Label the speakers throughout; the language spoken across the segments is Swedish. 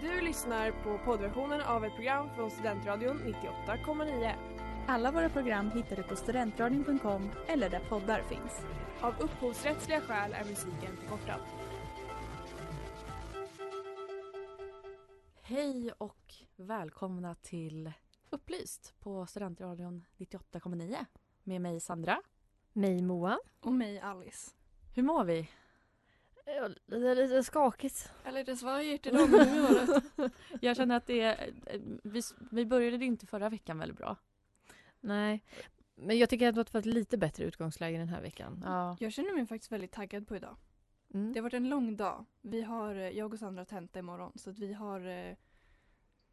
Speaker 1: Du lyssnar på poddversionen av ett program från Studentradion 98,9.
Speaker 2: Alla våra program hittar du på studentradion.com eller där poddar finns.
Speaker 1: Av upphovsrättsliga skäl är musiken förkortad.
Speaker 3: Hej och välkomna till Upplyst på Studentradion 98,9 med mig Sandra.
Speaker 4: Mig Moa.
Speaker 5: Och mig Alice.
Speaker 3: Hur mår vi?
Speaker 4: Eh, Det är lite skakigt.
Speaker 5: är lite svajigt idag med humöret.
Speaker 3: Jag känner att det är, vi, vi började ju inte förra veckan väldigt bra.
Speaker 4: Nej. Men jag tycker ändå att det var ett lite bättre utgångsläge den här veckan.
Speaker 3: Ja.
Speaker 5: Jag känner mig faktiskt väldigt taggad på idag.
Speaker 4: Mm.
Speaker 5: Det har varit en lång dag. Vi har, eh, jag och Sandra har tenta imorgon så att vi har eh,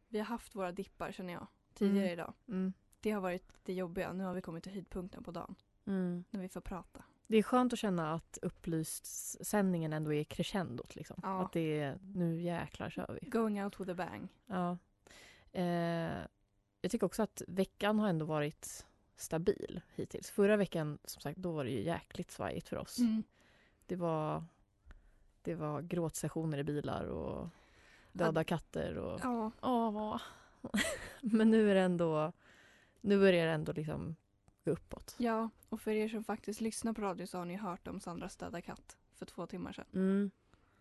Speaker 5: vi har haft våra dippar känner jag tidigare
Speaker 4: Mm.
Speaker 5: idag.
Speaker 4: Mm.
Speaker 5: Det har varit det jobbiga. Nu har vi kommit till höjdpunkten på dagen
Speaker 3: Mm.
Speaker 5: när vi får prata.
Speaker 4: Det är skönt att känna att upplyst-sändningen ändå är crescendot. Liksom.
Speaker 5: Ja.
Speaker 4: Att det är nu jäklar kör vi.
Speaker 5: Going out with a bang.
Speaker 4: Ja. Eh, jag tycker också att veckan har ändå varit stabil hittills. Förra veckan, som sagt, då var det ju jäkligt svajigt för
Speaker 5: Mm.
Speaker 4: oss.
Speaker 3: Mm.
Speaker 4: Det var, det var gråtsessioner i bilar och döda katter och
Speaker 5: Ja,
Speaker 3: Åh,
Speaker 4: Men nu är det ändå, nu börjar det ändå liksom gå uppåt.
Speaker 5: ja, och för er som faktiskt lyssnar på radio så har ni hört om Sandras döda katt för två timmar sedan.
Speaker 3: mm.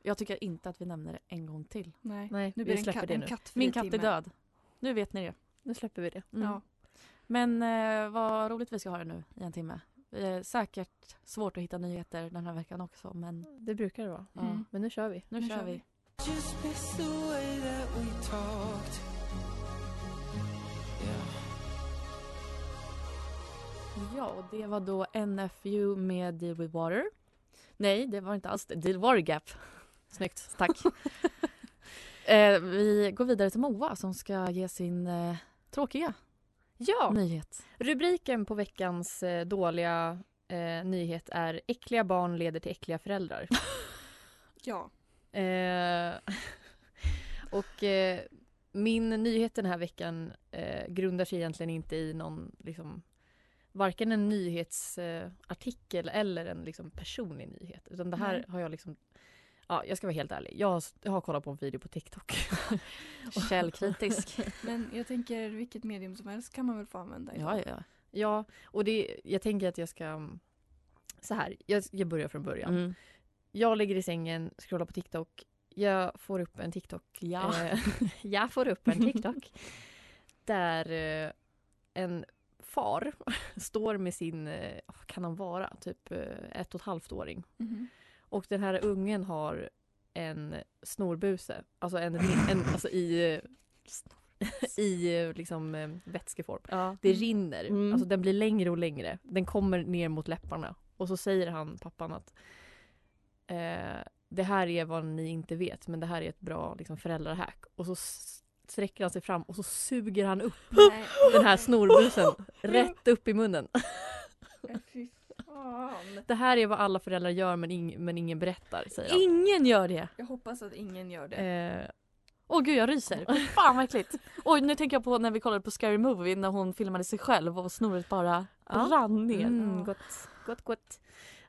Speaker 3: Jag tycker inte att vi nämner det en gång till.
Speaker 5: Nej,
Speaker 4: Nej, vi
Speaker 5: nu blir det en,
Speaker 4: släpper
Speaker 5: ka-
Speaker 4: det
Speaker 5: en
Speaker 4: nu.
Speaker 5: kattfri
Speaker 3: Min katt är
Speaker 5: timme.
Speaker 3: död. Nu vet ni det.
Speaker 4: Nu släpper vi det.
Speaker 3: Mm.
Speaker 5: Ja.
Speaker 3: Men eh, vad roligt vi ska ha det nu i en timme. Eh, säkert svårt att hitta nyheter den här veckan också men
Speaker 4: Det brukar det vara.
Speaker 3: ja.
Speaker 5: Mm.
Speaker 4: Men nu kör vi.
Speaker 3: nu, kör vi.
Speaker 6: Just miss the way that we talked. Yeah.
Speaker 3: Ja, och det var då NFU med Deal with Water. Nej, det var inte alls det. Deal Water Gap.
Speaker 4: Snyggt.
Speaker 3: Tack. eh, vi går vidare till Moa som ska ge sin eh, tråkiga
Speaker 4: Ja,
Speaker 3: nyhet.
Speaker 4: Mm. rubriken på veckans eh, dåliga eh, nyhet är Äckliga barn leder till äckliga föräldrar.
Speaker 5: Ja,
Speaker 4: Eh, och eh, min nyhet den här veckan eh, grundar sig egentligen inte i någon, liksom, varken en nyhetsartikel eh, artikel eller en liksom, personlig nyhet. Utan det här
Speaker 5: Nej.
Speaker 4: har jag liksom, ja jag ska vara helt ärlig, jag har, jag har kollat på en video på TikTok.
Speaker 3: Källkritisk.
Speaker 5: men jag tänker vilket medium som helst kan man väl få använda
Speaker 3: ja,
Speaker 5: idag.
Speaker 3: ja, ja.
Speaker 4: ja, och det, jag tänker att jag ska, mm, så här, jag, jag börjar från början.
Speaker 3: Mm.
Speaker 4: Jag ligger i sängen, scrollar på TikTok, jag får upp en TikTok
Speaker 3: ja.
Speaker 4: Eh, jag får upp en TikTok där eh, en far står med sin, eh, vad kan han vara, typ eh, ett och ett halvt åring.
Speaker 5: Mhm.
Speaker 4: Och den här ungen har en snorbuse, alltså, en, en, alltså i, eh, i eh, liksom, eh, vätskeform.
Speaker 3: ja.
Speaker 4: Det rinner,
Speaker 3: Mm.
Speaker 4: alltså den blir längre och längre. Den kommer ner mot läpparna. Och så säger han, pappan, att eh, det här är vad ni inte vet, men det här är ett bra liksom, föräldrahack. Och så s- sträcker han sig fram och så suger han upp
Speaker 5: Nej,
Speaker 4: den här snorbusen rätt upp i munnen.
Speaker 5: men fy fan.
Speaker 4: Det här är vad alla föräldrar gör men, ing- men ingen berättar, säger han.
Speaker 3: Ingen gör det!
Speaker 5: Jag hoppas att ingen gör det.
Speaker 4: Eh,
Speaker 3: Åh gud jag ryser, Fy fan vad äckligt. Oj nu tänker jag på när vi kollade på Scary Movie när hon filmade sig själv och snoret bara
Speaker 4: Ja.
Speaker 3: rann ner.
Speaker 4: Mm, gott, gott, gott.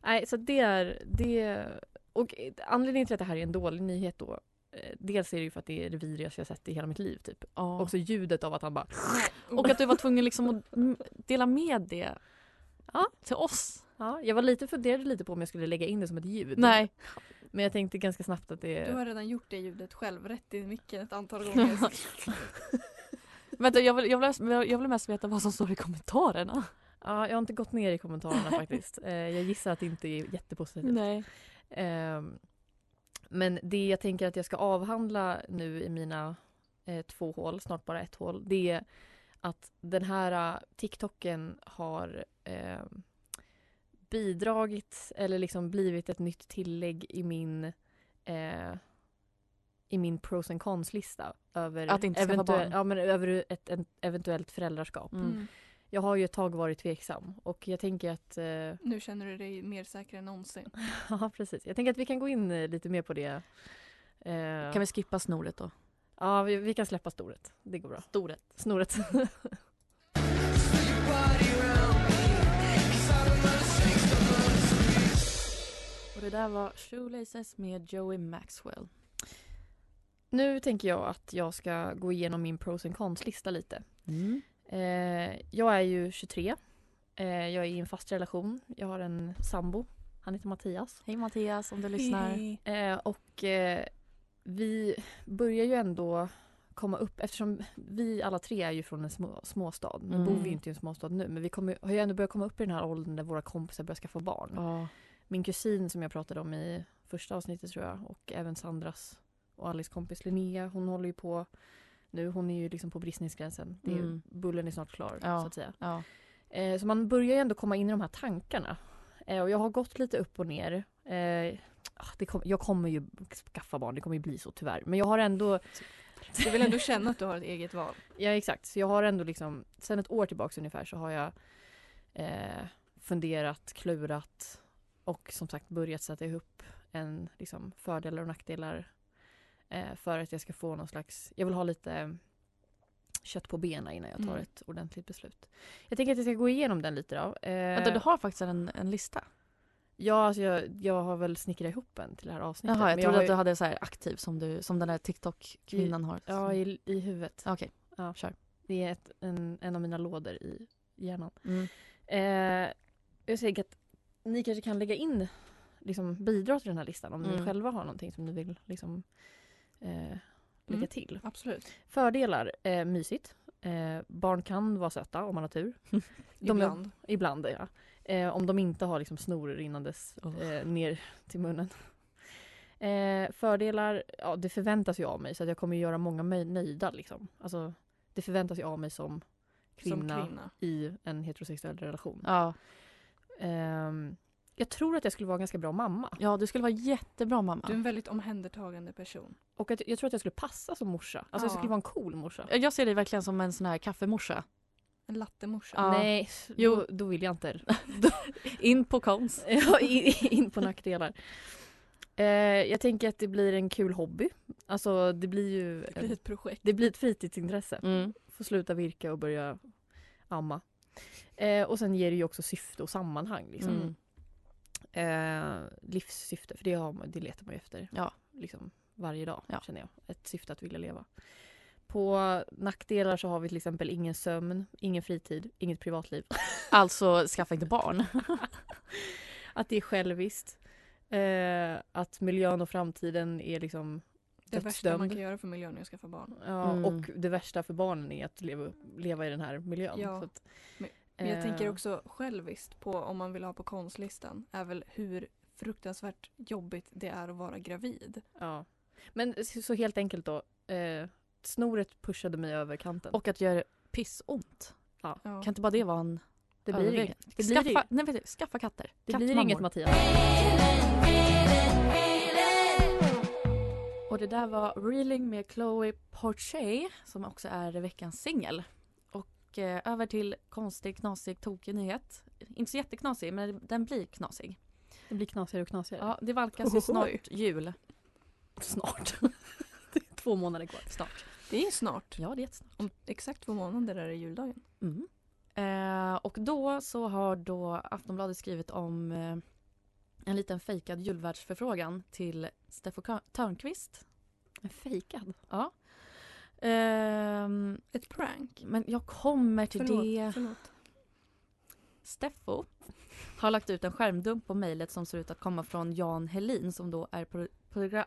Speaker 4: Nej, så det är... Det, och eh, anledningen till att det här är en dålig nyhet då, eh, dels är det ju för att det är det vidrigaste jag sett i hela mitt liv typ.
Speaker 3: Ja.
Speaker 4: Också ljudet av att han bara...
Speaker 3: Och att du var tvungen liksom att mm, dela med det
Speaker 4: Ja.
Speaker 3: till oss.
Speaker 4: Ja, jag var lite, funderade lite på om jag skulle lägga in det som ett ljud.
Speaker 3: Nej.
Speaker 4: Men jag tänkte ganska snabbt att
Speaker 5: Du
Speaker 4: det...
Speaker 5: har redan gjort det ljudet själv, rätt i micken ett antal gånger.
Speaker 4: Mm.
Speaker 3: Vänta, jag vill, jag, vill, jag vill mest veta vad som står i kommentarerna.
Speaker 4: Ja, jag har inte gått ner i kommentarerna faktiskt. Eh, Jag gissar att det inte är jättepositivt.
Speaker 3: Nej.
Speaker 4: Ehm, men det jag tänker att jag ska avhandla nu i mina eh, två hål, snart bara ett hål, det är att den här eh, TikToken har ehm, bidragit eller liksom blivit ett nytt tillägg i min eh, i min pros and cons-lista över,
Speaker 3: Att inte skaffa barn.
Speaker 4: ja, men över ett, en, eventuellt föräldraskap.
Speaker 5: Mm.
Speaker 4: Jag har ju ett tag varit tveksam och jag tänker att eh,
Speaker 5: Nu känner du dig mer säker än någonsin.
Speaker 4: Ja, precis. Jag tänker att vi kan gå in eh, lite mer på det. Eh,
Speaker 3: Kan vi skippa snoret då?
Speaker 4: Ja, vi, vi kan släppa storet. Det går bra.
Speaker 3: Storet.
Speaker 4: Snoret.
Speaker 3: Och det där var Shoelaces med Joey Maxwell.
Speaker 4: Nu tänker jag att jag ska gå igenom min pros and cons-lista lite.
Speaker 3: Mm.
Speaker 4: Eh, jag är ju 23. Eh, jag är i en fast relation. Jag har en sambo. Han heter Mattias.
Speaker 3: Hej Mattias om du lyssnar.
Speaker 4: Eh, och eh, vi börjar ju ändå komma upp eftersom vi alla tre är ju från en små, småstad. Nu
Speaker 3: Mm.
Speaker 4: bor vi ju inte i en småstad nu men vi kommer, har ju ändå börjat komma upp i den här åldern där våra kompisar börjar skaffa barn.
Speaker 3: Ja.
Speaker 4: Min kusin som jag pratade om i första avsnittet tror jag och även Sandras och Alice kompis Linnea hon håller ju på nu. Hon är ju liksom på bristningsgränsen. Det är,
Speaker 3: Mm.
Speaker 4: Bullen är snart klar
Speaker 3: Ja.
Speaker 4: så att säga.
Speaker 3: ja.
Speaker 4: Eh, så man börjar ju ändå komma in i de här tankarna. Eh, och jag har gått lite upp och ner. Eh, ah, det kom, jag kommer ju skaffa barn, det kommer ju bli så tyvärr. Men jag har ändå,
Speaker 5: Du vill ändå känna att du har ett eget val.
Speaker 4: ja exakt, så jag har ändå liksom, sen ett år tillbaks ungefär så har jag eh, funderat, klurat och som sagt börjat sätta ihop en liksom, fördelar och nackdelar eh, för att jag ska få någon slags, jag vill ha lite kött på benen innan jag tar
Speaker 5: Mm.
Speaker 4: ett ordentligt beslut. Jag tänker att jag ska gå igenom den lite då. Eh,
Speaker 3: Vänta, du har faktiskt en, en lista?
Speaker 4: Ja, alltså jag, jag har väl snickrat ihop en till det här avsnittet.
Speaker 3: Jaha, jag
Speaker 4: men
Speaker 3: trodde
Speaker 4: har
Speaker 3: att du hade så här aktiv som, du, som den där TikTok-kvinnan har.
Speaker 4: ju- Ja, i, i huvudet.
Speaker 3: Okej,
Speaker 4: Ja.
Speaker 3: kör.
Speaker 4: Det är ett, en, en av mina lådor i hjärnan.
Speaker 3: Mm.
Speaker 4: Eh, jag tänker att ni kanske kan lägga in, liksom bidra till den här listan om ni
Speaker 3: Mm.
Speaker 4: själva har någonting som ni vill liksom, eh, lägga
Speaker 5: Mm.
Speaker 4: till.
Speaker 5: Absolut.
Speaker 4: Fördelar, eh, mysigt. Eh, barn kan vara söta om man har tur. De-
Speaker 5: Ibland.
Speaker 4: Ibland, ja. Eh, om de inte har liksom snor rinnandes
Speaker 3: Oh.
Speaker 4: eh, ner till munnen. Eh, fördelar, ja det förväntas ju av mig så att jag kommer ju göra många mig nöjda liksom. Alltså, det förväntas ju av mig som kvinna,
Speaker 5: Som kvinna.
Speaker 4: i en heterosexuell relation.
Speaker 3: Ja.
Speaker 4: Ehm, jag tror att jag skulle vara en ganska bra mamma.
Speaker 3: ja, du skulle vara jättebra mamma.
Speaker 5: Du är en väldigt omhändertagande person.
Speaker 4: Och att, jag tror att jag skulle passa som morsa. Alltså jag
Speaker 5: Ja.
Speaker 4: skulle vara en cool morsa.
Speaker 3: Jag ser dig verkligen som en sån här kaffemorsa.
Speaker 5: En lattemorsa.
Speaker 3: Ja.
Speaker 4: Nej,
Speaker 3: Jo.
Speaker 4: Då, då vill jag inte.
Speaker 3: In på kons.
Speaker 4: Ja, i- i- in på nackdelar. Eh, jag tänker att det blir en kul hobby. Alltså det blir ju...
Speaker 5: Det blir ett projekt.
Speaker 4: Det blir ett fritidsintresse.
Speaker 3: Mm.
Speaker 4: Få sluta virka och börja amma. Eh, och sen ger det ju också syfte och sammanhang. Liksom.
Speaker 3: Mm.
Speaker 4: Eh, livssyfte, för det, har man, det letar man ju efter
Speaker 3: Ja.
Speaker 4: liksom, varje dag.
Speaker 3: Ja.
Speaker 4: känner jag. Ett syfte att vilja leva. På nackdelar så har vi till exempel ingen sömn, ingen fritid, inget privatliv.
Speaker 3: Alltså, skaffa inte barn.
Speaker 4: Att det är själviskt. Eh, att miljön och framtiden är liksom
Speaker 5: Det värsta man
Speaker 4: dödsdömd.
Speaker 5: kan göra för miljön är att skaffa barn.
Speaker 4: Ja,
Speaker 3: Mm.
Speaker 4: Och det värsta för barnen är att leva, leva i den här miljön.
Speaker 5: Ja.
Speaker 4: Så att,
Speaker 5: Men- Men jag
Speaker 4: eh,
Speaker 5: tänker också själviskt på om man vill ha på konstlistan är väl hur fruktansvärt jobbigt det är att vara gravid.
Speaker 4: Ja. Men så, så helt enkelt då. Eh, snoret pushade mig över kanten.
Speaker 3: Och att göra pissont.
Speaker 5: Ja.
Speaker 3: Kan inte bara det vara en
Speaker 4: det blir
Speaker 3: övervägande?
Speaker 4: inget. Det blir,
Speaker 3: skaffa, nej, vet du, skaffa katter.
Speaker 4: det blir
Speaker 3: Kattmammor.
Speaker 4: inget Mattias.
Speaker 3: Och det där var Reeling med Chloe Porche som också är veckans singel. Och eh, över till konstig, knasig, tokig nyhet. Inte så jätteknasig men den blir knasig.
Speaker 4: Det blir knasigare och knasigare.
Speaker 3: Ja, det valkas ju
Speaker 5: Ohohoj.
Speaker 3: snart jul.
Speaker 4: Snart. det är två månader kvar.
Speaker 3: Snart.
Speaker 5: Det är ju snart.
Speaker 3: Ja, det är jättesnart.
Speaker 5: Om exakt två månader är det juldagen.
Speaker 3: Mm. Eh, och då så har då Aftonbladet skrivit om eh, en liten fejkad julvärdsförfrågan till Steffo Ka- Törnqvist.
Speaker 4: En fejkad.
Speaker 3: Ja. Ehm,
Speaker 5: Ett prank.
Speaker 3: men jag kommer till
Speaker 5: Förlåt,
Speaker 3: det.
Speaker 5: förlåt.
Speaker 3: Steffo har lagt ut en skärmdump på mejlet som ser ut att komma från Jan Helin som då är pro- progra-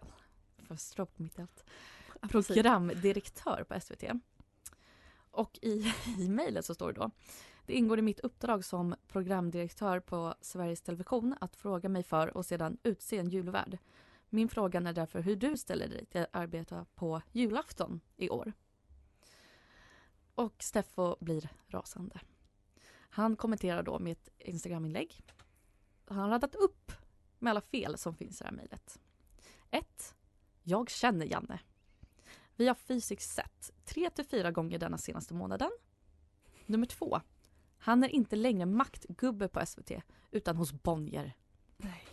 Speaker 3: för stroke mitt i allt. programdirektör på SVT. Och i, i mejlet så står det då Det ingår i mitt uppdrag som programdirektör på Sveriges Television att fråga mig för och sedan utse en julvärd. Min fråga är därför hur du ställer dig till att arbeta på julafton i år. Och Steffo blir rasande. Han kommenterar då med ett Instagram-inlägg. Han har radat upp med alla fel som finns i det här mejlet. 1. Jag känner Janne. Vi har fysiskt sett 3 till 4 gånger denna senaste månaden. Nummer 2. Han är inte längre maktgubbe på SVT utan hos Bonnier.
Speaker 5: Nej.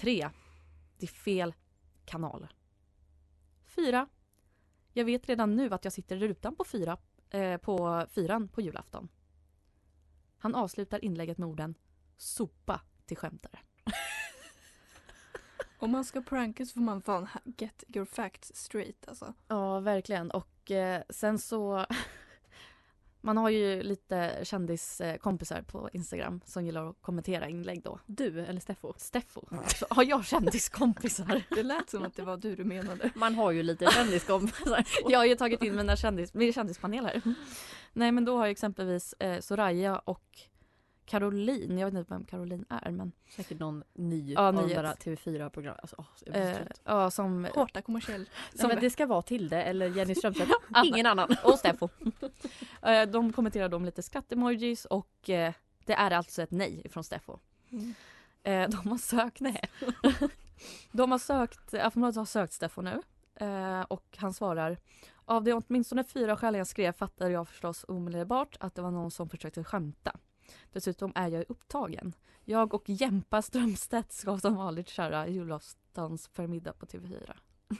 Speaker 3: 3. Det är fel kanal. 4. Jag vet redan nu att jag sitter i rutan på, fyra, eh, på fyran på julafton. Han avslutar inlägget med orden “sopa till skämtare”.
Speaker 5: Om man ska pranka så får man fan ha- get your facts straight alltså.
Speaker 3: Ja, verkligen. Och eh, sen så... Man har ju lite kändiskompisar på Instagram som gillar att kommentera inlägg då.
Speaker 4: Du eller Steffo?
Speaker 3: Steffo, så har jag kändiskompisar?
Speaker 5: Det lät som att det var du du menade.
Speaker 4: Man har ju lite kändiskompisar.
Speaker 3: Jag har ju tagit in mina kändis, min kändispanel här. Nej men då har jag exempelvis eh, Soraya och Caroline, jag vet inte vem Caroline är men.
Speaker 4: Säkert någon ny
Speaker 3: Ja,
Speaker 4: av de
Speaker 3: nyhet.
Speaker 4: där TV4-program. Alltså, åh, jag blir så
Speaker 3: Eh,
Speaker 4: trött.
Speaker 3: ja som,
Speaker 5: Hårta kommersiell.
Speaker 4: Nej, men det ska vara Tilde eller Jenny Strömstedt.
Speaker 3: Anna.
Speaker 4: Ingen annan.
Speaker 3: och Steffo. eh, de kommenterade om lite skattemojis och eh, det är alltså ett nej från Steffo.
Speaker 5: Mm.
Speaker 3: Eh, de har sökt, nej. de har sökt, Aftonbladet har sökt Steffo nu eh, och han svarar av de åtminstone fyra skäl jag skrev fattade jag förstås omedelbart att det var någon som försökte skämta. Dessutom är jag upptagen. Jag och Jempa Strömstedt ska som vanligt köra julaftons förmiddag på TV4.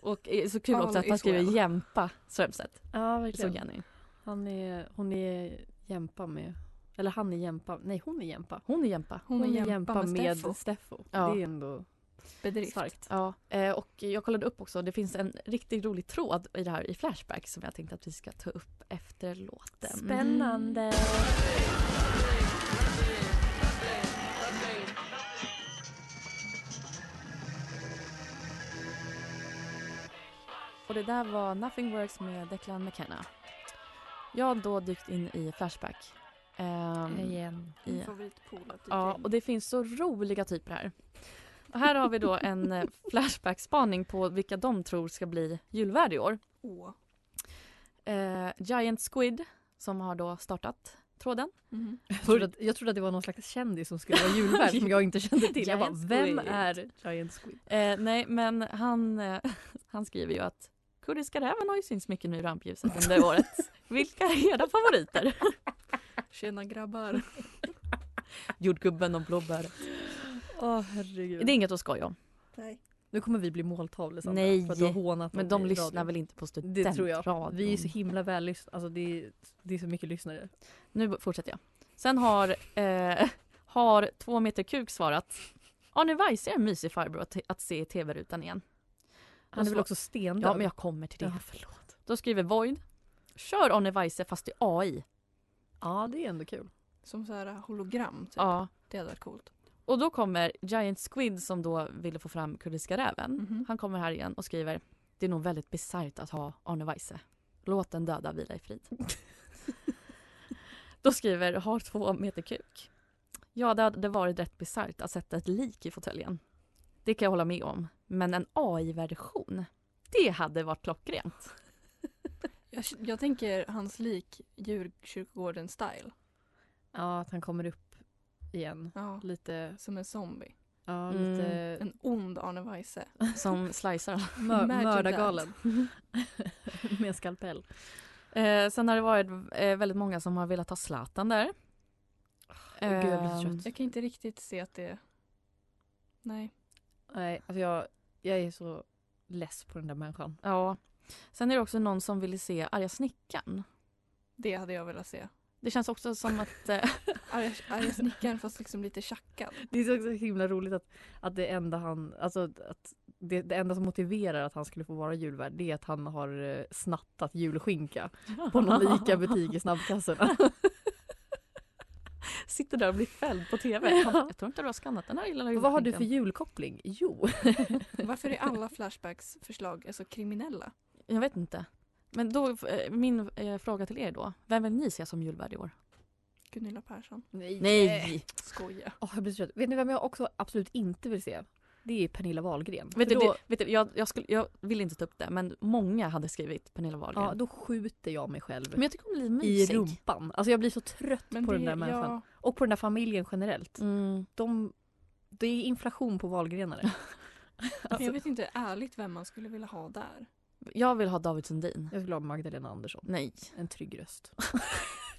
Speaker 3: och eh, så kul
Speaker 5: All
Speaker 3: också att han
Speaker 5: is
Speaker 3: skriver
Speaker 5: well.
Speaker 3: Jempa Strömstedt.
Speaker 4: Ja,
Speaker 3: Det såg jag nu.
Speaker 4: Han är, hon är jämpa med... Eller han är jämpa. Nej, hon är jämpa.
Speaker 3: Hon är jämpa.
Speaker 5: Hon är jämpa med, med
Speaker 4: Steffo.
Speaker 3: Ja.
Speaker 4: Det är ändå
Speaker 5: bedrift.
Speaker 4: starkt.
Speaker 3: Ja, eh, och jag kollade upp också, det finns en riktigt rolig tråd i det här i Flashback som jag tänkte att vi ska ta upp efter låten.
Speaker 4: Spännande.
Speaker 3: Och det där var Nothing Works med Declan McKenna. Jag har då dykt in i Flashback. Ehm,
Speaker 4: Igen.
Speaker 5: Min
Speaker 3: i-
Speaker 5: favoritpool att dyka
Speaker 3: Ja,
Speaker 5: in.
Speaker 3: och det finns så roliga typer här. Och här har vi då en eh, Flashback-spaning på vilka de tror ska bli julvärd i år.
Speaker 5: Åh.
Speaker 3: eh, Giant Squid som har då startat tråden.
Speaker 5: Mhm.
Speaker 4: Jag trodde, att, jag trodde att det var någon slags kändis som skulle vara julvärd som jag inte kände till. Jag bara,
Speaker 3: Giant
Speaker 4: vem
Speaker 3: Squid.
Speaker 4: är Giant Squid?
Speaker 3: Eh, nej, men han, eh, han skriver ju att Kurdiska räven har ju synts mycket nu i rampljuset under året. Vilka är era favoriter?
Speaker 5: Tjena grabbar.
Speaker 3: Jordgubben och blåbäret.
Speaker 4: Åh herregud.
Speaker 3: Det är inget att skoja om.
Speaker 5: Nej.
Speaker 4: Nu kommer vi bli måltavlor Sandra,
Speaker 3: Nej,
Speaker 4: för att du har hånat
Speaker 3: Men
Speaker 4: dem
Speaker 3: de
Speaker 4: i
Speaker 3: lyssnar
Speaker 4: radion.
Speaker 3: väl inte på typ
Speaker 4: Det tror jag.
Speaker 3: studentradion?
Speaker 4: Vi är så himla väl lyssnade. Alltså det är, det är så mycket lyssnare.
Speaker 3: Nu fortsätter jag. Sen har, eh, har två meter kuk svarat Arne Weise är en mysig farbror att, att se i tv-rutan igen.
Speaker 4: Han är väl
Speaker 3: svar-
Speaker 4: också stendöd?
Speaker 3: Ja, men jag kommer till det.
Speaker 4: Ja, förlåt.
Speaker 3: Då skriver Void Kör Arne Weise fast i AI.
Speaker 4: Typ. Ja, det är ändå kul.
Speaker 5: Som så här hologram typ.
Speaker 3: Ja.
Speaker 5: Det hade varit coolt.
Speaker 3: Och då kommer Giant Squid som då ville få fram Kurdiska räven.
Speaker 5: Mhm.
Speaker 3: Han kommer här igen och skriver Det är nog väldigt bisarrt att ha Arne Weise. Låt den döda vila i frid. då skriver Har två meter kuk. Ja, det hade varit rätt bisarrt att sätta ett lik i fåtöljen. Det kan jag hålla med om. Men en AI-version, det hade varit klockrent.
Speaker 5: Jag, jag tänker hans lik djurkyrkogården style.
Speaker 4: Ja, att han kommer upp igen.
Speaker 5: Ja.
Speaker 4: Lite,
Speaker 5: Som en zombie.
Speaker 4: ja,
Speaker 3: Mm.
Speaker 4: lite
Speaker 5: En ond Arne Weise.
Speaker 3: Som slicear
Speaker 4: mör-
Speaker 5: Imagine
Speaker 4: mördargalen. Med en skalpell.
Speaker 3: Eh, sen har det varit eh, väldigt många som har velat ha Zlatan där.
Speaker 4: Åh, gud, jag blir så
Speaker 3: Ehm,
Speaker 4: trött.
Speaker 5: Jag kan inte riktigt se att det... Nej.
Speaker 4: Nej, alltså jag, jag är så less på den där människan.
Speaker 3: Ja. Sen är det också någon som ville se Arga snickaren.
Speaker 5: Det hade jag velat se.
Speaker 3: Det känns också som att... Eh,
Speaker 5: Arga, arga snickaren fast liksom lite tjackad.
Speaker 4: Det är så himla roligt att, att det enda han, alltså att det, det enda som motiverar att han skulle få vara julvärd det är att han har eh, snattat julskinka på någon ICA-butik i snabbkassorna.
Speaker 3: sitter där och blir fälld på tv.
Speaker 4: Ja.
Speaker 3: Jag tror inte du har skannat den här lilla
Speaker 4: Vad har du för
Speaker 3: julskinkan.
Speaker 4: julkoppling? Jo,
Speaker 5: Varför är alla Flashbacks förslag är så kriminella?
Speaker 3: Jag vet inte. Men då, eh, min eh, fråga till er då. Vem vill ni se som julvärd i år?
Speaker 5: Gunilla Persson.
Speaker 4: nej.
Speaker 5: Skoja.
Speaker 4: Åh, jag blir så trött. Vet ni vem jag också absolut inte vill se? Det är Pernilla Wahlgren.
Speaker 3: Vet
Speaker 4: För
Speaker 3: du,
Speaker 4: då,
Speaker 3: det, vet du, jag, jag, skulle, jag vill inte ta upp det, men många hade skrivit Pernilla Wahlgren.
Speaker 4: ja, då skjuter jag mig själv
Speaker 3: Men jag tycker hon är lite
Speaker 4: i
Speaker 3: mysig.
Speaker 4: rumpan. Alltså jag blir så trött på den där människan.
Speaker 5: ja,
Speaker 4: Och på den där familjen generellt.
Speaker 3: Mm.
Speaker 4: De, det är inflation på valgrenare.
Speaker 5: men
Speaker 4: Alltså.
Speaker 5: jag vet inte ärligt vem man skulle vilja ha där.
Speaker 3: Jag vill ha David Sundin.
Speaker 4: Jag skulle ha Magdalena Andersson.
Speaker 3: Nej.
Speaker 4: En trygg röst.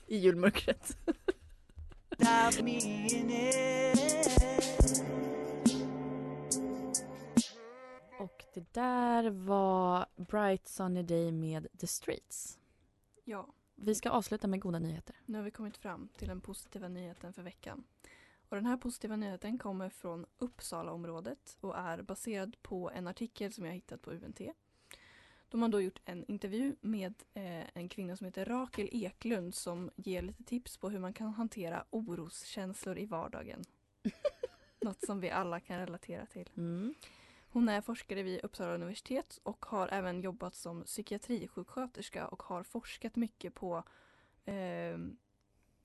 Speaker 4: I julmörkret.
Speaker 6: Dive me in it.
Speaker 3: Och det där var Bright Sunny Day med The Streets.
Speaker 5: Ja,
Speaker 3: Vi ska avsluta med goda nyheter.
Speaker 5: nu har vi kommit fram till den positiva nyheten för veckan. Och den här positiva nyheten kommer från Uppsalaområdet och är baserad på en artikel som jag hittat på UNT. De har då gjort en intervju med eh, en kvinna som heter Rakel Eklund som ger lite tips på hur man kan hantera oroskänslor i vardagen. Något som vi alla kan relatera till.
Speaker 3: Mm.
Speaker 5: Hon är forskare vid Uppsala universitet och har även jobbat som psykiatrisjuksköterska och har forskat mycket på eh,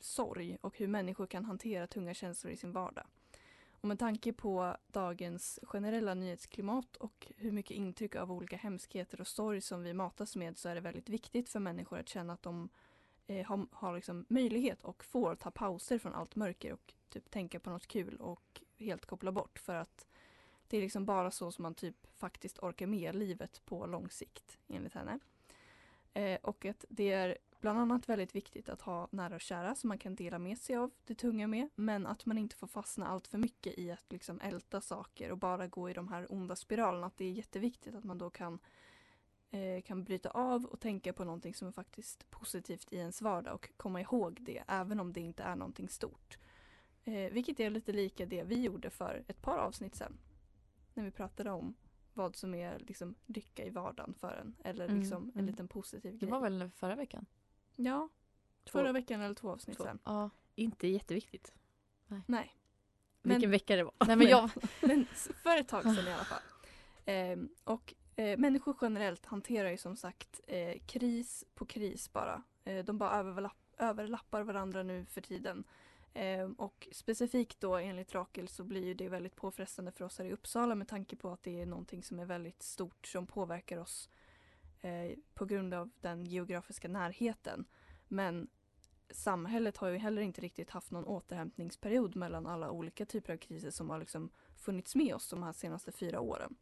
Speaker 5: sorg och hur människor kan hantera tunga känslor i sin vardag. Och med tanke på dagens generella nyhetsklimat och hur mycket intryck av olika hemskheter och sorg som vi matas med så är det väldigt viktigt för människor att känna att de eh, har, har liksom möjlighet och får ta pauser från allt mörker och typ tänka på något kul och helt koppla bort för att det är liksom bara så som man typ faktiskt orkar med livet på lång sikt enligt henne. Eh, och att det är bland annat väldigt viktigt att ha nära och kära som man kan dela med sig av det tunga med men att man inte får fastna allt för mycket i att liksom älta saker och bara gå i de här onda spiralerna. Att det är jätteviktigt att man då kan, eh, kan bryta av och tänka på någonting som är faktiskt positivt i ens vardag och komma ihåg det även om det inte är någonting stort. Eh, vilket är lite lika det vi gjorde för ett par avsnitt sedan när vi pratade om vad som är liksom lycka i vardagen för en eller
Speaker 3: Mm,
Speaker 5: liksom en
Speaker 3: mm.
Speaker 5: liten positiv
Speaker 3: Det
Speaker 5: grej.
Speaker 3: var väl förra veckan?
Speaker 5: Ja,
Speaker 4: Två-
Speaker 5: förra veckan eller två avsnitt
Speaker 4: två.
Speaker 5: sen.
Speaker 3: Ja.
Speaker 4: Inte jätteviktigt.
Speaker 5: Nej,
Speaker 4: Vilken vecka det var.
Speaker 3: Nej men jag...
Speaker 5: men s- för ett tag sedan i alla fall. Ehm, och eh, människor generellt hanterar ju som sagt eh, kris på kris bara. Eh, de bara överlapp, överlappar varandra nu för tiden. Ehm, och specifikt då enligt Rakel så blir ju det väldigt påfrestande för oss här i Uppsala med tanke på att det är någonting som är väldigt stort som påverkar oss eh, på grund av den geografiska närheten. Men samhället har ju heller inte riktigt haft någon återhämtningsperiod mellan alla olika typer av kriser som har liksom funnits med oss de här senaste fyra åren.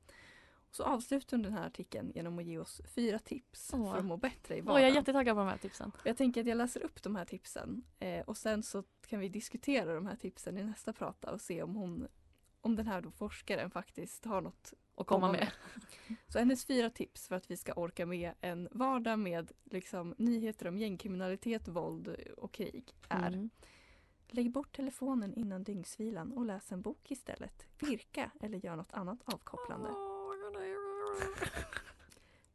Speaker 5: Så avslutar hon den här artikeln genom att ge oss fyra tips
Speaker 3: Åh.
Speaker 5: för att må bättre i
Speaker 3: Åh, jag är
Speaker 5: vardagen.
Speaker 3: jättetaggad på de här tipsen.
Speaker 5: Jag tänker att jag läser upp de här tipsen eh, och sen så kan vi diskutera de här tipsen i nästa prata och se om hon om den här då forskaren faktiskt har något
Speaker 3: Och komma med.
Speaker 5: Så hennes fyra tips för att vi ska orka med en vardag med liksom, nyheter om gängkriminalitet, våld och krig är
Speaker 3: Mm.
Speaker 5: Lägg bort telefonen innan dygnsvilan och läs en bok istället. Virka eller gör något annat avkopplande.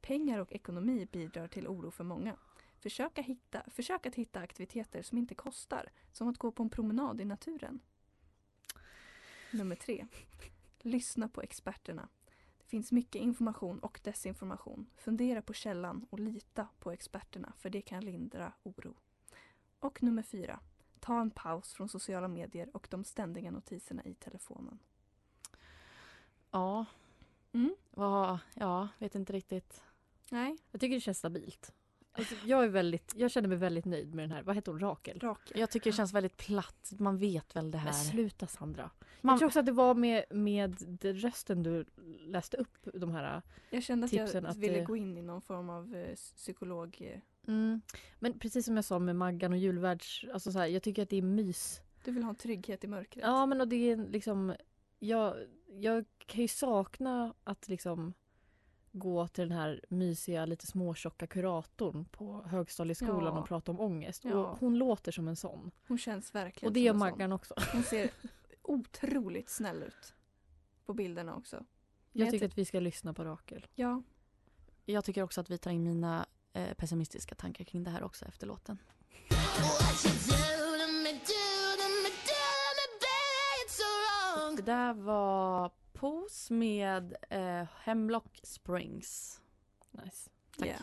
Speaker 5: Pengar och ekonomi bidrar till oro för många. Försök att, hitta, försök att hitta aktiviteter som inte kostar, som att gå på en promenad i naturen. Nummer tre. Lyssna på experterna. Det finns mycket information och desinformation. Fundera på källan och lita på experterna för det kan lindra oro. Och nummer fyra. Ta en paus från sociala medier och de ständiga notiserna i telefonen.
Speaker 3: Ja,
Speaker 5: Mm.
Speaker 3: vad... Ja, vet inte riktigt.
Speaker 5: Nej,
Speaker 4: Jag tycker det känns stabilt. Alltså, jag, är väldigt, jag känner mig väldigt nöjd med den här. Vad heter hon? Rakel?
Speaker 5: Rakel.
Speaker 3: Jag tycker det känns väldigt platt. Man vet väl det
Speaker 4: Men
Speaker 3: här.
Speaker 4: sluta Sandra.
Speaker 3: Man,
Speaker 4: Jag tror också att det var med, med den rösten du läste upp de här.
Speaker 5: Jag kände att
Speaker 4: Tipsen
Speaker 5: jag
Speaker 4: att
Speaker 5: ville
Speaker 4: det-
Speaker 5: gå in i någon form av eh, psykolog... eh,
Speaker 3: mm,
Speaker 4: Men precis som jag sa med Maggan och julvärds, alltså så här, jag tycker att det är mys.
Speaker 5: Du vill ha en trygghet i mörkret.
Speaker 4: Ja men och det är liksom, jag, jag kan ju sakna att liksom gå till den här mysiga lite småtjocka kuratorn på högstadieskolan
Speaker 5: Ja.
Speaker 4: och prata om ångest.
Speaker 5: Ja.
Speaker 4: Och hon låter som en sån.
Speaker 5: Hon känns verkligen
Speaker 4: och det
Speaker 5: som
Speaker 4: gör
Speaker 5: en sån.
Speaker 4: Maggan också.
Speaker 5: Hon ser otroligt snäll ut. På bilderna också.
Speaker 4: Jag
Speaker 5: jag
Speaker 4: tycker
Speaker 5: tyck-
Speaker 4: att vi ska lyssna på Rakel.
Speaker 5: Ja,
Speaker 3: jag tycker också att vi tar in mina eh, pessimistiska tankar kring det här också efter låten. Det där var Pose med eh, Hemlock Springs.
Speaker 4: Nice.
Speaker 3: Tack.
Speaker 5: yeah.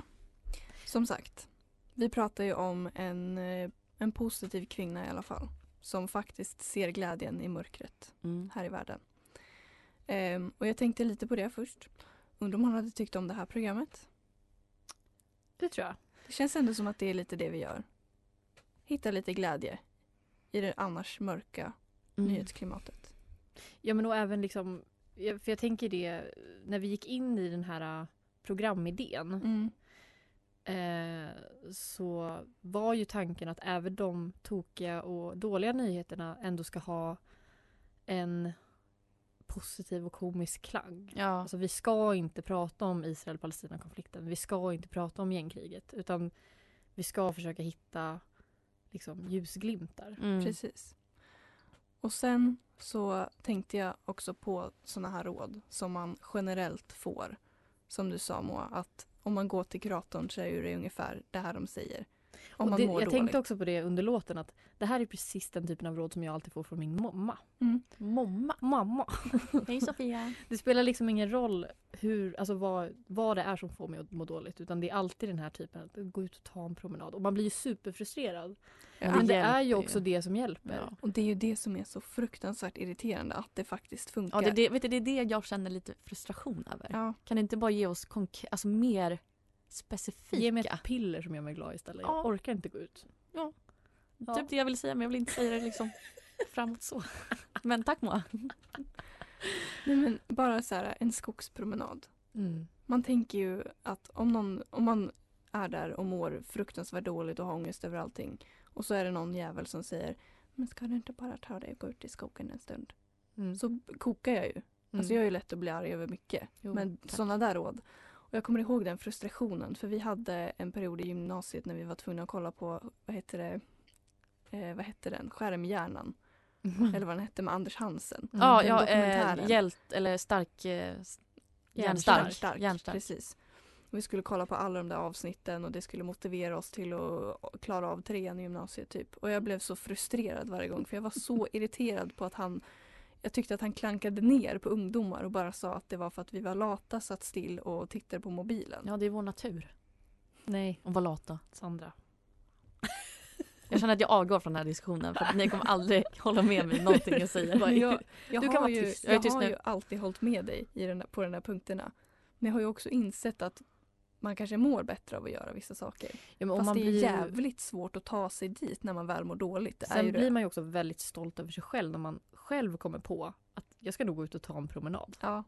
Speaker 5: Som sagt, vi pratar ju om en, eh, en positiv kvinna i alla fall. Som faktiskt ser glädjen i mörkret.
Speaker 3: Mm.
Speaker 5: här i världen. Ehm, och jag tänkte lite på det först. Undrar om hon hade tyckt om det här programmet?
Speaker 4: Det tror jag.
Speaker 5: Det känns ändå som att det är lite det vi gör. Hitta lite glädje i det annars mörka
Speaker 3: Mm.
Speaker 5: nyhetsklimatet.
Speaker 4: Ja men och även liksom, jag- för jag tänker det, när vi gick in i den här eh, programidén
Speaker 5: Mm.
Speaker 4: eh, så var ju tanken att även de tokiga och dåliga nyheterna ändå ska ha en positiv och komisk klang.
Speaker 3: Ja.
Speaker 4: Alltså vi ska inte prata om Israel-Palestina-konflikten, vi ska inte prata om gängkriget utan vi ska försöka hitta liksom, ljusglimtar.
Speaker 3: Mm.
Speaker 5: Precis. Och sen så tänkte jag också på sådana här råd som man generellt får. Som du sa Moa, att om man går till kuratorn så är det ungefär det här de säger. Om
Speaker 4: Och
Speaker 5: man
Speaker 4: det,
Speaker 5: mår
Speaker 4: jag
Speaker 5: dåligt.
Speaker 4: tänkte också på det under låten att det här är precis den typen av råd som jag alltid får från min mamma.
Speaker 5: Mm.
Speaker 4: Mamma. mamma.
Speaker 3: Hej Sofia!
Speaker 4: Det spelar liksom ingen roll hur, alltså vad, vad det är som får mig att må dåligt utan det är alltid den här typen att gå ut och ta en promenad och man blir ju superfrustrerad.
Speaker 5: Ja.
Speaker 4: Men det
Speaker 3: hjälper
Speaker 4: är ju
Speaker 3: ju.
Speaker 4: också det som hjälper.
Speaker 3: Ja.
Speaker 5: Och det är ju det som är så fruktansvärt irriterande att det faktiskt
Speaker 3: Ja,
Speaker 5: funkar.
Speaker 3: det, är det, vet du, det är det jag känner lite frustration över.
Speaker 5: Ja.
Speaker 3: Kan du inte bara ge oss konk- alltså, mer specifika?
Speaker 4: Ge mig ett piller som gör mig glad istället.
Speaker 3: Ja.
Speaker 4: Jag orkar inte gå ut. Ja.
Speaker 3: Typ det jag vill säga men jag vill inte säga det liksom framåt så. Men tack Moa.
Speaker 5: Nej, men bara så här, en skogspromenad. Man tänker ju att om, någon, om man är där och mår fruktansvärt dåligt och har ångest över allting och så är det någon jävel som säger men ska du inte bara ta dig och gå ut i skogen en stund?
Speaker 4: Mm.
Speaker 5: Så kokar jag ju. Alltså jag är ju lätt att bli arg över mycket.
Speaker 3: Mm. Jo,
Speaker 5: men
Speaker 3: tack.
Speaker 5: sådana där råd. Och jag kommer ihåg den frustrationen för vi hade en period i gymnasiet när vi var tvungna att kolla på, vad heter det, eh, vad hette den, Skärmhjärnan.
Speaker 3: Mm.
Speaker 5: Eller vad den hette med Anders Hansen.
Speaker 4: Mm.
Speaker 3: Ja,
Speaker 5: den
Speaker 3: ja
Speaker 5: dokumentären.
Speaker 3: eh, hjält eller stark, eh, s-
Speaker 4: Hjärnstark.
Speaker 3: hjärnstark.
Speaker 5: Stark,
Speaker 3: Hjärnstark.
Speaker 5: Precis. Och Vi skulle kolla på alla de där avsnitten och det skulle motivera oss till att klara av trean i gymnasiet typ. Och jag blev så frustrerad varje gång för jag var så irriterad på att han jag tyckte att han klankade ner på ungdomar och bara sa att det var för att vi var lata, satt still och tittade på mobilen.
Speaker 3: Ja, det är vår natur
Speaker 4: Nej,
Speaker 3: att vara lata.
Speaker 4: Sandra.
Speaker 3: Jag känner att jag avgår från den här diskussionen för att ni kommer aldrig hålla med mig i någonting jag säger.
Speaker 5: Men jag, jag
Speaker 3: Du
Speaker 5: har
Speaker 3: kan vara
Speaker 5: ju,
Speaker 3: tyst. Jag
Speaker 5: Jag,
Speaker 3: är tyst
Speaker 5: har
Speaker 3: nu.
Speaker 5: ju alltid hållit med dig i den där, på de här punkterna. Men jag har ju också insett att man kanske mår bättre av att göra vissa saker.
Speaker 4: Ja, men om
Speaker 5: Fast
Speaker 4: man
Speaker 5: det är
Speaker 4: blir ju-
Speaker 5: jävligt svårt att ta sig dit när man väl mår dåligt. Det är
Speaker 4: Sen
Speaker 5: ju det.
Speaker 4: blir man ju också väldigt stolt över sig själv när man själv kommer på att jag ska nog gå ut och ta en promenad.
Speaker 5: Ja.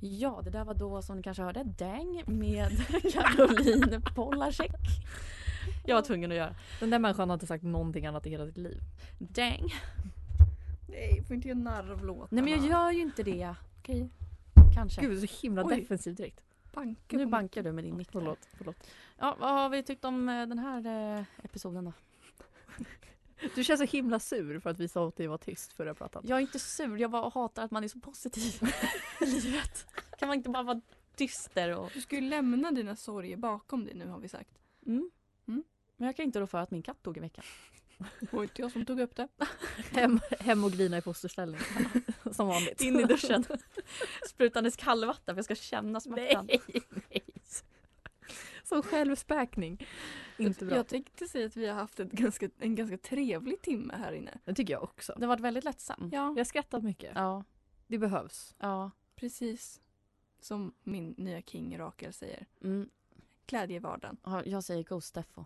Speaker 3: Ja, det där var då som ni kanske hörde Dang med Caroline Polacek. Jag var tvungen att göra.
Speaker 4: Den där människan har inte sagt någonting annat i hela sitt liv.
Speaker 3: Dang.
Speaker 5: Nej, får inte göra narr av låtarna.
Speaker 3: Nej men jag gör ju inte det.
Speaker 5: Okej,
Speaker 3: Kanske.
Speaker 4: Gud, så himla
Speaker 5: Oj.
Speaker 4: defensivt direkt.
Speaker 5: banka
Speaker 3: nu
Speaker 5: på
Speaker 3: bankar du med din mick. där.
Speaker 4: Förlåt, förlåt.
Speaker 3: Ja, vad har vi tyckt om eh, den här eh, episoden då?
Speaker 4: Du känns så himla sur för att vi sa åt dig att vara tyst förra pratan.
Speaker 3: Jag är inte sur, jag bara hatar att man är så positiv i livet. Kan man inte bara vara dyster och...
Speaker 5: Du ska ju lämna dina sorger bakom dig nu har vi sagt.
Speaker 3: Mm.
Speaker 5: Mm.
Speaker 3: Men jag kan inte rå för att min katt dog i veckan.
Speaker 5: Det var inte jag som tog upp det.
Speaker 4: Hem, hem och grina i fosterställning. Som vanligt.
Speaker 3: In i duschen. Sprutandes kallvatten för jag ska känna smärtan.
Speaker 4: Nej, nej. Som självspäkning. Inte bra.
Speaker 5: Jag tänkte säga att vi har haft ett ganska, en ganska trevlig timme här inne.
Speaker 4: Det tycker jag också.
Speaker 3: Det har varit väldigt lättsamt.
Speaker 5: Ja,
Speaker 4: Vi har skrattat mycket.
Speaker 3: Ja.
Speaker 4: Det behövs.
Speaker 3: ja.
Speaker 5: precis. Som min nya king Rakel säger.
Speaker 3: Mm.
Speaker 5: Glädje i vardagen.
Speaker 3: Ja, Jag säger go Steffo.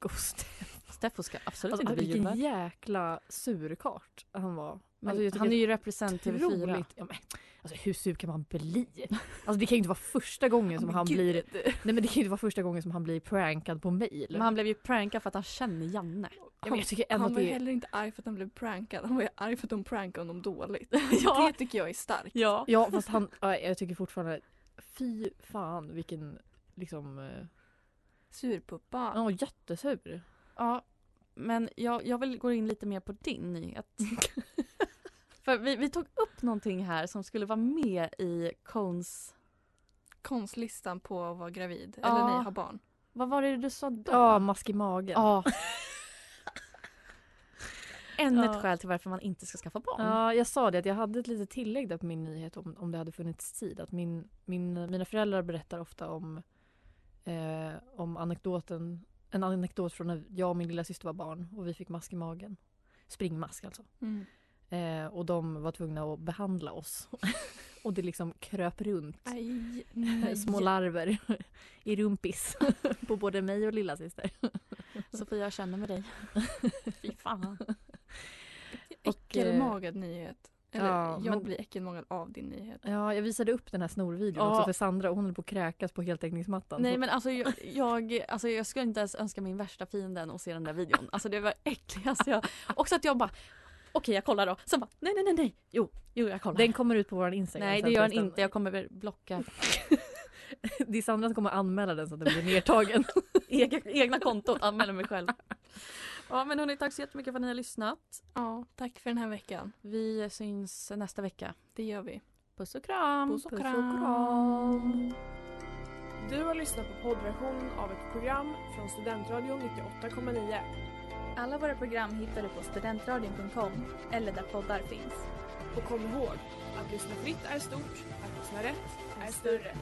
Speaker 4: Ghost.
Speaker 3: Steffo ska absolut
Speaker 4: Alltså,
Speaker 3: inte bli
Speaker 4: vilken
Speaker 3: julvärd.
Speaker 4: jäkla surkart han var.
Speaker 3: Men
Speaker 4: alltså, jag tycker
Speaker 3: han är ju represent
Speaker 4: det är otroligt-
Speaker 3: TV4.
Speaker 4: Ja, men, alltså, hur sur kan man bli? Alltså, det kan ju inte vara första gången som han blir... Nej, men det kan ju inte vara första gången som han blir prankad på mail.
Speaker 3: Men han blev ju prankad för att han känner Janne.
Speaker 4: Ja, men jag tycker ändå
Speaker 5: han
Speaker 4: att
Speaker 5: var ju
Speaker 4: det är...
Speaker 5: heller inte arg för att han blev prankad. Han var ju arg för att de prankade honom dåligt.
Speaker 3: Ja.
Speaker 5: Det tycker jag är starkt.
Speaker 3: Ja.
Speaker 4: Ja, fast han... ja, Jag tycker fortfarande... Fy fan vilken... Liksom... eh,
Speaker 5: Surpuppa.
Speaker 4: Ja, jättesur.
Speaker 3: Ja, men jag, jag vill gå in lite mer på din nyhet. För vi, vi tog upp någonting här som skulle vara med i Cones...
Speaker 5: Konstlistan på att vara gravid.
Speaker 3: Ja.
Speaker 5: Eller nej, ha barn.
Speaker 3: Vad var det du sa då?
Speaker 4: Ja, mask i magen.
Speaker 3: Ja. Ännu
Speaker 4: Ja.
Speaker 3: ett skäl till varför man inte ska skaffa barn.
Speaker 4: Ja, jag sa det att jag hade ett litet tillägg där på min nyhet om, om det hade funnits tid. Att min, min, mina föräldrar berättar ofta om, eh, om anekdoten, en anekdot från när jag och min lilla syster var barn och vi fick mask i magen. Springmask alltså. Eh, och de var tvungna att behandla oss. och det liksom kröp runt
Speaker 5: Aj,
Speaker 4: eh,
Speaker 5: nej.
Speaker 4: små larver i rumpis på både mig och lilla syster.
Speaker 3: Sofia, jag känner med dig. Fy fan.
Speaker 4: Och, eh,
Speaker 5: Äckelmagad nyhet. Eller
Speaker 4: ja,
Speaker 5: jag
Speaker 4: men-
Speaker 5: blir äckelmagad av din nyhet.
Speaker 4: Ja, jag visade upp den här snorvideon
Speaker 3: Ja.
Speaker 4: också för Sandra och hon höll på att kräkas på heltäckningsmattan.
Speaker 3: Nej
Speaker 4: Så-
Speaker 3: men alltså jag, jag, alltså jag skulle inte ens önska min värsta fienden att se den där videon. Alltså det var äckligast jag... Också att jag bara, okej jag kollar då. Sen bara, nej nej nej nej. Jo, jo jag kollar.
Speaker 4: Den kommer ut på vår Instagram.
Speaker 3: Nej
Speaker 4: sen
Speaker 3: det gör den
Speaker 4: förresten.
Speaker 3: inte, jag kommer väl blocka.
Speaker 4: Det är Sandra som kommer anmäla den så att den blir nedtagen.
Speaker 3: Ega, egna kontot, anmäler mig själv. Ja men hörni, tack så jättemycket för att ni har lyssnat.
Speaker 5: Ja, tack för den här veckan.
Speaker 3: Vi syns nästa vecka.
Speaker 5: Det gör vi.
Speaker 3: Puss och kram!
Speaker 5: Puss och kram.
Speaker 1: Du har lyssnat på poddversionen av ett program från Studentradion 98,9.
Speaker 2: Alla våra program hittar du på studentradion.com eller där poddar finns.
Speaker 1: Och kom ihåg, att lyssna fritt är stort, att lyssna rätt är större.